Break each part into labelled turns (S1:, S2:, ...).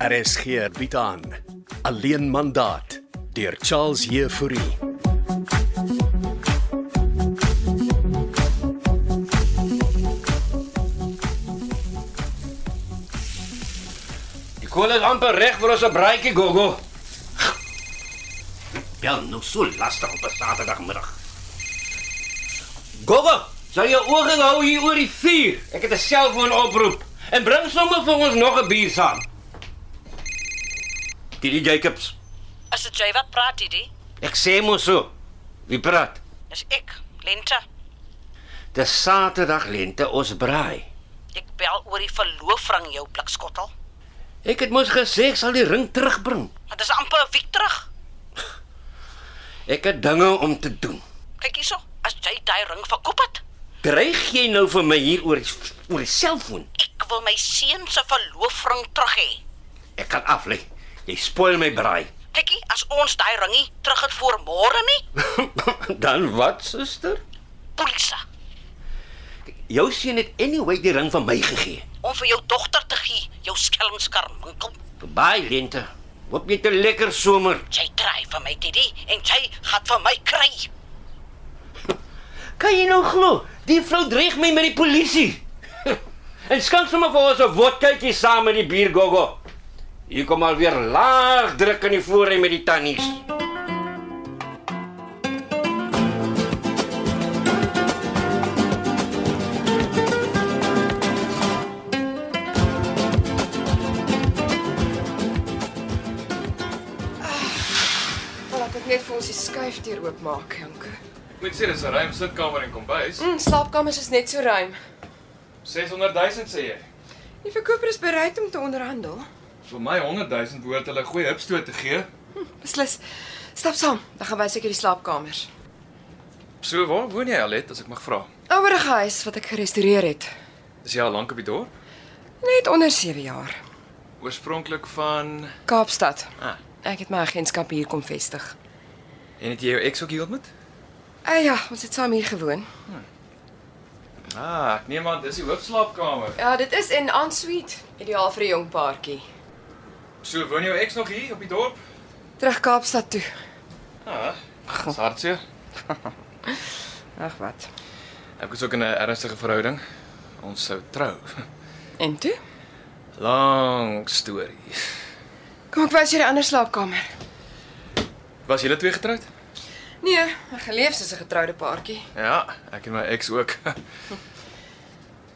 S1: RSG bied aan Alleen mandaat deur Charles Jefouri.
S2: Die kool is amper reg vir ons 'n braaitjie, Gogo. Ja,
S3: Bel nou so lastig op 'n Saterdagmiddag.
S2: Gogo, sal jou oë hou hier oor die vuur. Ek het 'n selfoon oproep en bring sommer vir ons nog 'n bier saam. Didi Jacobs,
S4: Is dit jy wat praat hierdie?
S2: ek sê mos so. Wie praat?
S4: Dis ek, Lente.
S2: Dis Saterdag lente ons braai.
S4: Ek bel oor die verloofring jou blikskottel.
S2: Ek het mos gesê ek sal die ring terugbring.
S4: Maar dis amper 'n week terug.
S2: Ek het dinge om te doen.
S4: Kyk hierso, as jy daai ring verkoop het,
S2: Dreig jy nou vir my hier oor die, oor die selfoon?
S4: ek wil my seun se verloofring terug hê.
S2: Ek kan af lê. Jy spoil my braai.
S4: Kykie, as ons daai ringie terug het voor môre nie,
S2: Dan wat, suster?
S4: polisie,
S2: Jou seun het anyway die ring van my gegee.
S4: om vir jou dogter te gee, jou skelmskarminkel.
S2: Baie lente. Hoop jy 'n lekker somer.
S4: Jy kry vir my Didi en jy gaan vir my kry.
S2: Kan jy nou glo? Die vrou dreig my met die polisie. en skank sommer vir ons 'n vodkaatjie saam met die bier gogo. Hier kom alweer laag druk in die voorry met die tannies.
S5: Wel, ek het net vir ons die skuifdeur oopmaak, Janke.
S6: Ek moet sê dis 'n ruim sitkamer en kombuis.
S5: Mm, slaapkamers is net so ruim.
S6: 600 000 sê jy.
S5: Die verkoper is bereid om te onderhandel.
S6: Vir my 100 000 behoort hulle 'n goeie hupstoot te gee.
S5: Beslis. Stap saam, dan gaan wys ek jou die slaapkamers.
S6: So waar woon jy Alet as ek mag vra?
S5: Ouerige huis wat ek gerestoreer het.
S6: Is jy al lank op die dorp?
S5: Net onder 7 jaar.
S6: Oorspronklik van
S5: Kaapstad.
S6: Ah.
S5: Ek het my agentskap hier kom vestig.
S6: en het jy jou ex ook hier ontmoet?
S5: Ah ja, ons het saam hier gewoon.
S6: Ah, ek neem aan dis die hoofslaapkamer.
S5: Ja, dit is in ensuite, ideaal vir 'n jong paartjie.
S6: So woon jou ex nog hier op die dorp?
S5: Terug Kaapstad toe.
S6: Ah, dis hartseer.
S5: Ag wat.
S6: Ek was ook in 'n ernstige verhouding. Ons sou trou.
S5: En toe?
S6: Lang storie.
S5: Kom ek wys jou die ander slaapkamer.
S6: Was julle twee getroud?
S5: Nee, ek geleef soos 'n getroude paartjie.
S6: Ja, ek en my ex ook.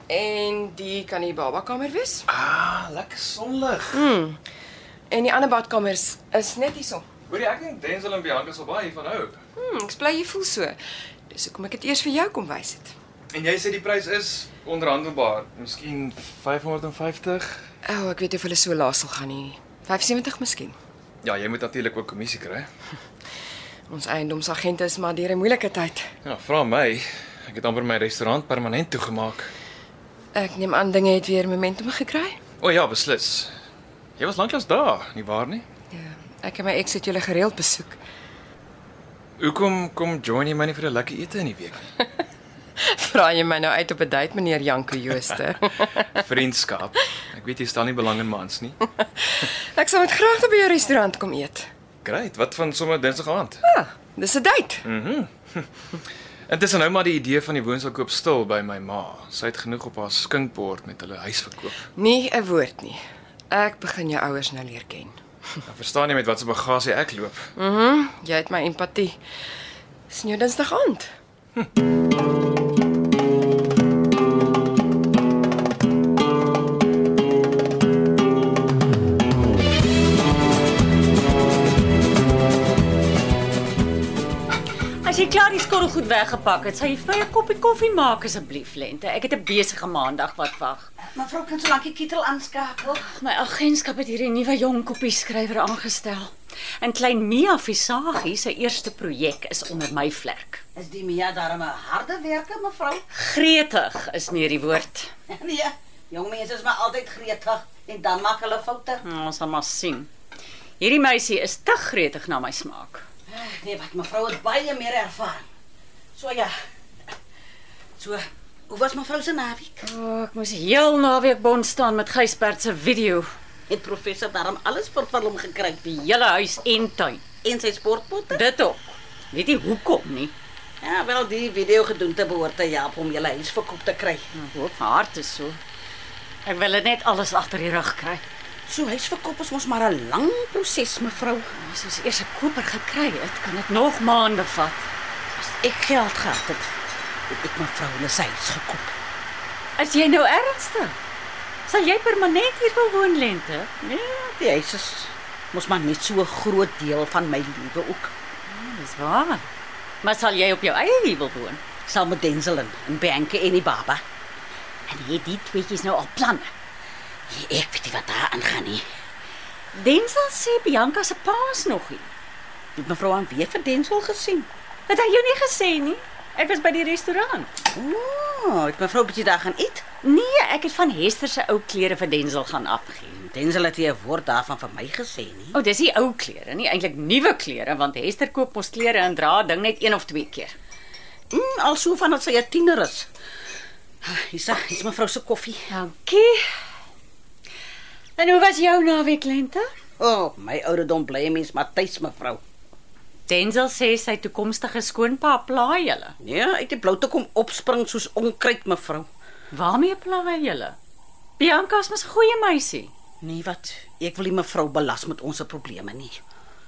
S5: En die kan die babakamer wees.
S6: Ah, lekker sonlig.
S5: En die ander badkamers is net hierso.
S6: Hoorie, ek dink Denzel en Bianca sal baie hiervan hou.
S5: Hmm, ek is bly jy voel so. Dis hoekom ek dit eers vir jou kom wys het.
S6: En jy sê die prys is onderhandelbaar. Miskien 550.
S5: O, oh, ek weet nie of hulle so laag sal gaan nie. 75 miskien.
S6: Ja, jy moet natuurlik ook kommissie kry.
S5: Ons eiendomsagente is maar deur 'n moeilike tyd.
S6: Ja, vra my. Ek het amper my restaurant permanent toegemaak.
S5: Ek neem aan dinge het weer momentum gekry.
S6: O ja, beslis. Jy was lanklaas daar, nie waar nie?
S5: Ja, ek en my ex het julle gereeld besoek.
S6: Hoekom kom join jy my nie vir 'n lekker ete in die week nie?
S5: Vra jy my nou uit op 'n date, meneer Janko Jooste?
S6: Vriendskap. Ek weet jy stel nie belang in mans nie.
S5: ek sal met graagte by jou restaurant kom eet.
S6: Great. Wat van sommer Dinsdag aand?
S5: Ah, dis 'n date.
S6: Intussen nou maar die idee van die woonstel koop stil by my ma. Sy het genoeg op haar skinkbord met hulle huisverkoop.
S5: Nie 'n woord nie. Ek begin jou ouers nou leer ken.
S6: Dan verstaan jy met watter bagasie ek loop.
S5: Jy het my empatie. Sien jou Dinsdag aand.
S7: As jy klaar die skorrel goed weggepak het, sal jy vir my 'n koppie koffie maak asseblief, Lente. Ek het 'n besige maandag wat wag.
S4: Mevrou kan so lank die ketel aanskakel.
S7: My agentskap het hierdie nuwe jong koppieskrywer aangestel. En klein Mia Visagie se eerste projek is onder my vlerk.
S4: Is die Mia darme harde werker mevrou?
S7: Gretig is meer die woord.
S4: Nee, jong mense is maar altyd gretig en dan maak hulle foute.
S7: Nou, Ons sal maar sien. Hierdie meisie is te gretig na my smaak.
S4: Ag, Eh, Nee, wat mevrou het baie meer ervaring. So ja. So, hoe was mevrou se naweek?
S7: O, oh, ek moes heel naweek bond staan met Gysbert se video.
S4: het professor daarom alles vir film gekry
S7: Die hele huis en tuin.
S4: en sy sportpotte.
S7: Dit ook. Weet jy hoekom nie?
S4: Ja, wel die video gedoen te behoort te help om julle huis verkoop te kry.
S7: Ek hoop my hart is so. Ek wil dit net alles agter die rug kry.
S4: So huisverkoop is mos maar 'n lang proses, mevrou.
S7: As ons eers 'n koper gekry het, kan dit nog maande vat.
S4: As ek geld gehad het, het ek mevrou hulle se huis gekoop.
S7: As jy nou ernstig, sal jy permanent hier wil woon lente?
S4: Nee, die huis is mos maar net so 'n groot deel van my lewe ook.
S7: Dis waar. Maar sal jy op jou eie hier wil woon?
S4: Ek sal met Denzel en, en Bianca en die baba.
S7: En het die tweetjies nou al planne?
S4: Ek weet nie wat daar aangaan nie.
S7: Denzel sê Bianca se pa is nog hier.
S4: Het mevrou aan weer vir Denzel gesien.
S7: Het hy jou nie gesê nie? Ek was by die restaurant.
S4: Ooh, het mevrou bietjie daar gaan eet.
S7: Nee, ek het van Hester se ou klere vir Denzel gaan afgee.
S4: Denzel het nie 'n woord daarvan vir my gesê nie.
S7: O, oh, dis die ou klere, nie eintlik nuwe klere want Hester koop mos klere en dra ding net een of twee keer.
S4: Mm, al so van dat sy 'n tiener is. Hier's hier's mevrou se koffie.
S7: Dankie. En hoe was jou naweek lente?
S4: O, oh, my ouderdom bly 'n mens maar tuis mevrou.
S7: Denzel sê sy toekomstige skoonpa plaai julle.
S4: Nee, uit die blou te kom opspring soos onkruid mevrou.
S7: Waarmee plaai julle? Bianca is mos 'n goeie meisie.
S4: Nee, wat? Ek wil nie mevrou belas met ons se probleme nie.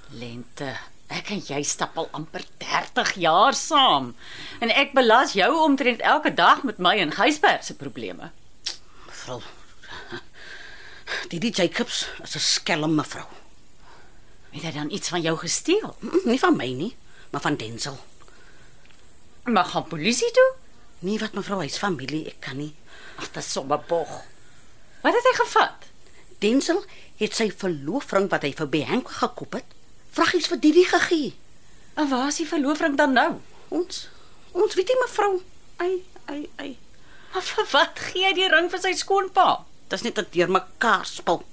S7: Lente, ek en jy stap al amper 30 jaar saam en ek belas jou omtrent elke dag met my en Gysbert se probleme.
S4: Mevrou. Die die Jacobs is 'n skelm mevrou.
S7: Het hy dan iets van jou gesteel?
S4: Mm, Nie van my nie, maar van Denzel.
S7: Maar gaan polisie toe?
S4: Nee, wat mevrou, hy's familie, ek kan nie.
S7: Ag, dis sommer bog. Wat het hy gevat?
S4: Denzel het sy verloofring wat hy vir Bianca gekoop het, vraggies vir Didi gegee.
S7: En waar is die verloofring dan nou?
S4: Ons ons weet nie mevrou. Ai, ai, ai.
S7: Maar vir wat gee hy die ring vir sy skoonpa?
S4: Dis net 'n deurmekaar spul.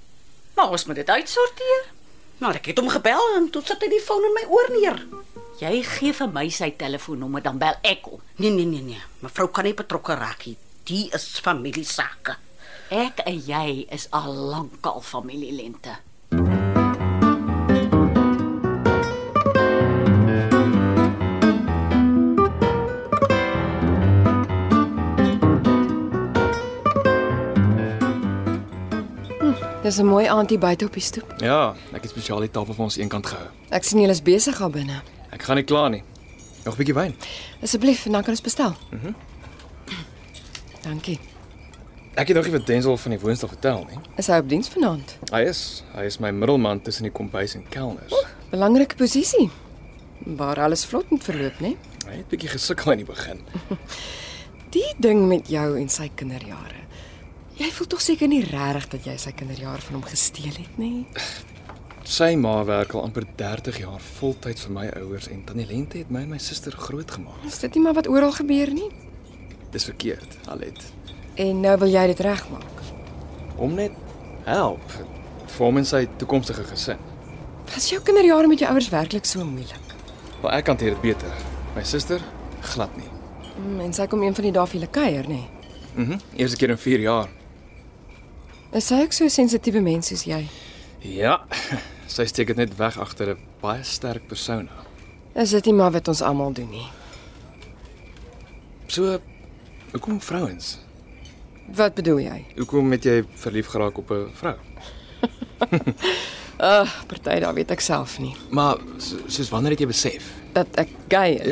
S7: Maar ons moet dit uitsorteer.
S4: Nou, ek het hom gebel en toe sit hy die foon in my oor neer.
S7: Jy gee vir my sy telefoonnommer dan bel ek hom.
S4: Nee, nee, nee, nee. Mevrou kan nie betrokke raak nie. Die is familie sake.
S7: Ek en jy is al lankal familielente.
S5: Dis 'n mooi aand hier buite op die stoep.
S6: Ja, ek het spesiaal die tafel vir ons eenkant gehou.
S5: Ek sien julle is besig daar binne.
S6: Ek gaan nie kla nie. Nog 'n bietjie wyn.
S5: Asseblief, en dan kan ons bestel. Mhm. Dankie.
S6: Ek het nog nie vir Denzel van die woonstel vertel nie.
S5: Is hy op diens vanaand?
S6: Hy is, hy is my middelman tussen die kombuis en kelners.
S5: Belangrike posisie. Waar alles vlot moet verloop, né?
S6: Hy het bietjie gesukkel aan die begin.
S5: Die ding met jou en sy kinderjare. Jy voel tog seker nie regtig dat jy sy kinderjare van hom gesteel het nie.
S6: Sy ma werk al amper 30 jaar voltyds vir my ouers en tannie Lente het my en my suster grootgemaak.
S5: Is dit nie maar wat oral gebeur nie?
S6: Dis verkeerd, Alet.
S5: En nou wil jy dit regmaak.
S6: Om net help vorm in sy toekomstige gesin.
S5: Was jou kinderjare met jou ouers werklik so moeilik?
S6: Maar ek hanteer dit beter. My suster glad nie.
S5: Mm, En sy kom een van die dae vir julle kuier, nê?
S6: Mhm. Mm Eerste keer in 4 jaar.
S5: Is sy ook so 'n sensitiewe mens soos jy?
S6: Ja. Sy steek dit net weg agter 'n baie sterk persona.
S5: Is dit nie maar wat ons almal doen nie?
S6: So hoekom vrouens?
S5: Wat bedoel jy?
S6: Hoekom het jy verlief geraak op 'n vrou?
S5: Ag, uh, party daar weet ek self nie.
S6: Maar so- soos wanneer het jy besef?
S5: Dat ek gay is.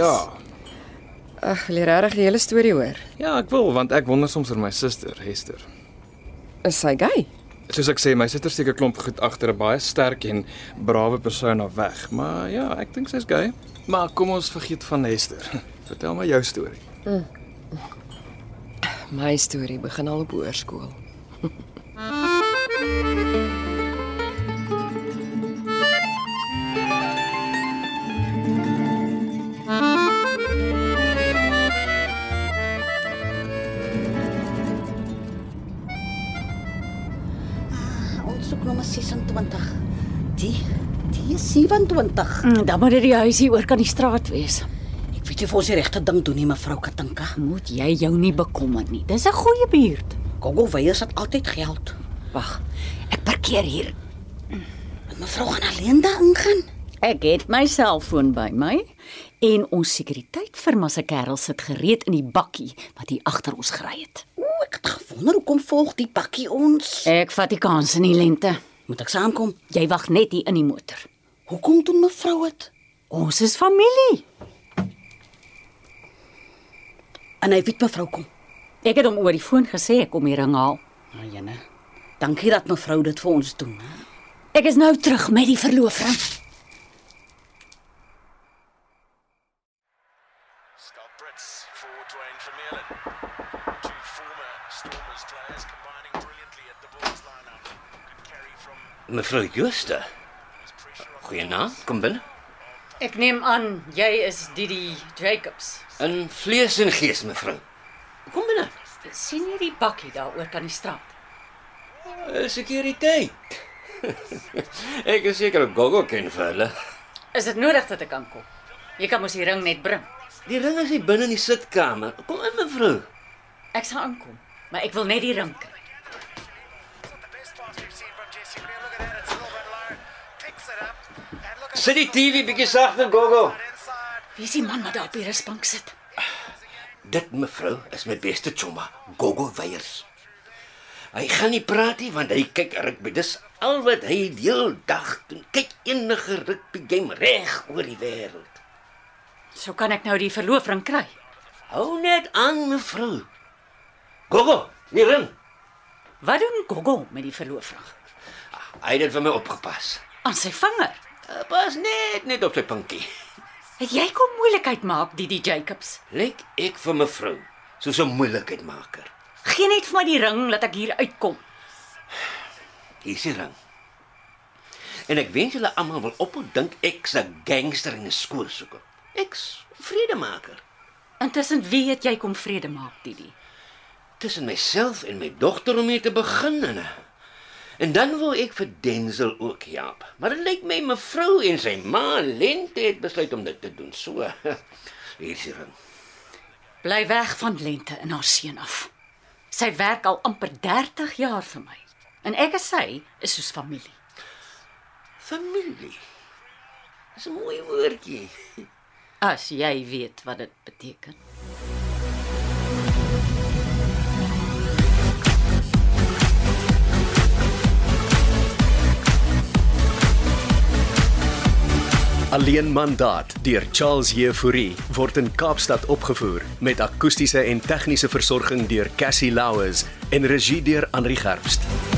S5: Ag, wil jy regtig die hele storie hoor?
S6: Ja, ek wil want ek wonder soms oor my suster Hester.
S5: Is sy gay?
S6: Soos ek sê, my suster steek 'n klomp goed agter 'n baie sterk en brawe persona weg, maar ja, ek dink sy's gay. Maar kom ons vergeet van Hester. Vertel my jou storie.
S5: My storie begin al op hoërskool.
S4: Ons soek nommer 26. Die die is 27.
S7: Mm, dan moet dit die huisie oor kan die straat wees.
S4: Ek weet nie of ons die regte ding doen nie, mevrou Katinka.
S7: Moet jy jou nie bekommer nie. Dis 'n goeie buurt.
S4: Gogo Weyers het altyd geld.
S7: Wag. Ek park
S8: verkeer hier. Mevrou gaan alleen daar ingaan.
S7: Ek het my selfoon by my en ons sekuriteit firma se kerel sit gereed in die bakkie wat hier agter ons gery het.
S8: Ooh, ek het gewonder hoekom volg die pakkie ons.
S7: Ek vat die kans in die lente.
S8: Moet ek saamkom?
S7: Jy wag net hier in die motor.
S8: Hoekom doen mevrou dit?
S7: Ons is familie.
S8: En hy weet mevrou kom.
S7: Ek het hom oor die foon gesê ek kom hier ring haal.
S8: Nou jene. Dankie dat mevrou dit vir ons doen. Hè?
S7: Ek is nou terug met die verloofring.
S9: Scott Brits for Dwayne Vermeulen. Two former Stormers players combining brilliantly at the Bulls lineup. Good carry from
S2: Mevrou Jooste. Goeienaand, kom binne.
S7: Ek neem aan jy is Didi Jacobs.
S2: In vlees en gees, mevrou. Kom binne.
S7: sien jy die bakkie daaroor kan die straat?
S2: Eh, Sekuriteit. ek is seker Gogo ken vir hulle.
S7: Is dit nodig dat ek kan kom? Jy kan mos die ring net bring.
S2: Die ring is hier binne in die sitkamer. Kom in, mevrou.
S7: Ek sal aankom, maar ek wil net die ring kry.
S9: the best pass we've seen from Jesse Green. Look at that, it's a little bit low. Picks it up. And look at
S2: Sit die TV bietjie sagter, Gogo.
S9: inside.
S7: Wie is die man wat daar op die rusbank sit?
S2: Dit mevrou is my beste chomma, Gogo Weyers. Hy gaan nie praat nie want hy kyk rugby. Dis al wat hy die hele dag doen. Kyk enige rugby game reg oor die wêreld.
S7: So kan ek nou die verloofring kry.
S2: Hou net aan mevrou. Gogo, die ring.
S7: Wat doen Gogo met die verloofring?
S2: Hy het dit vir my opgepas.
S7: Aan sy vinger.
S2: Eh, Pas net net op sy pinkie.
S7: Het jy kom moeilikheid maak, Didi Jacobs?
S2: Lyk ek vir mevrou soos 'n moeilikheidmaker.
S7: Geen net vir my die ring laat ek hier uitkom.
S2: Hier is die ring. En ek wens julle almal wil ophou dink ek's 'n gangster en 'n skoorsoeker. Ek's vredemaker.
S7: Intussen wie het jy kom vrede maak, Didi?
S2: tussen myself en my dogter om mee te begin en en dan wil ek vir Denzel ook help. Maar dit lyk my mevrou en sy ma Lente het besluit om dit te doen. So hier is die ring.
S7: Bly weg van Lente en haar seun af. Sy werk al amper 30 jaar vir my. En ek en sy is soos familie.
S2: Familie. Dis 'n mooi woordjie.
S7: As jy weet wat dit beteken.
S1: Alleen mandaat deur Charles Jefouri word in Kaapstad opgevoer met akoestiese en tegniese versorging deur Cassie Louws en regie deur Henri Gerst.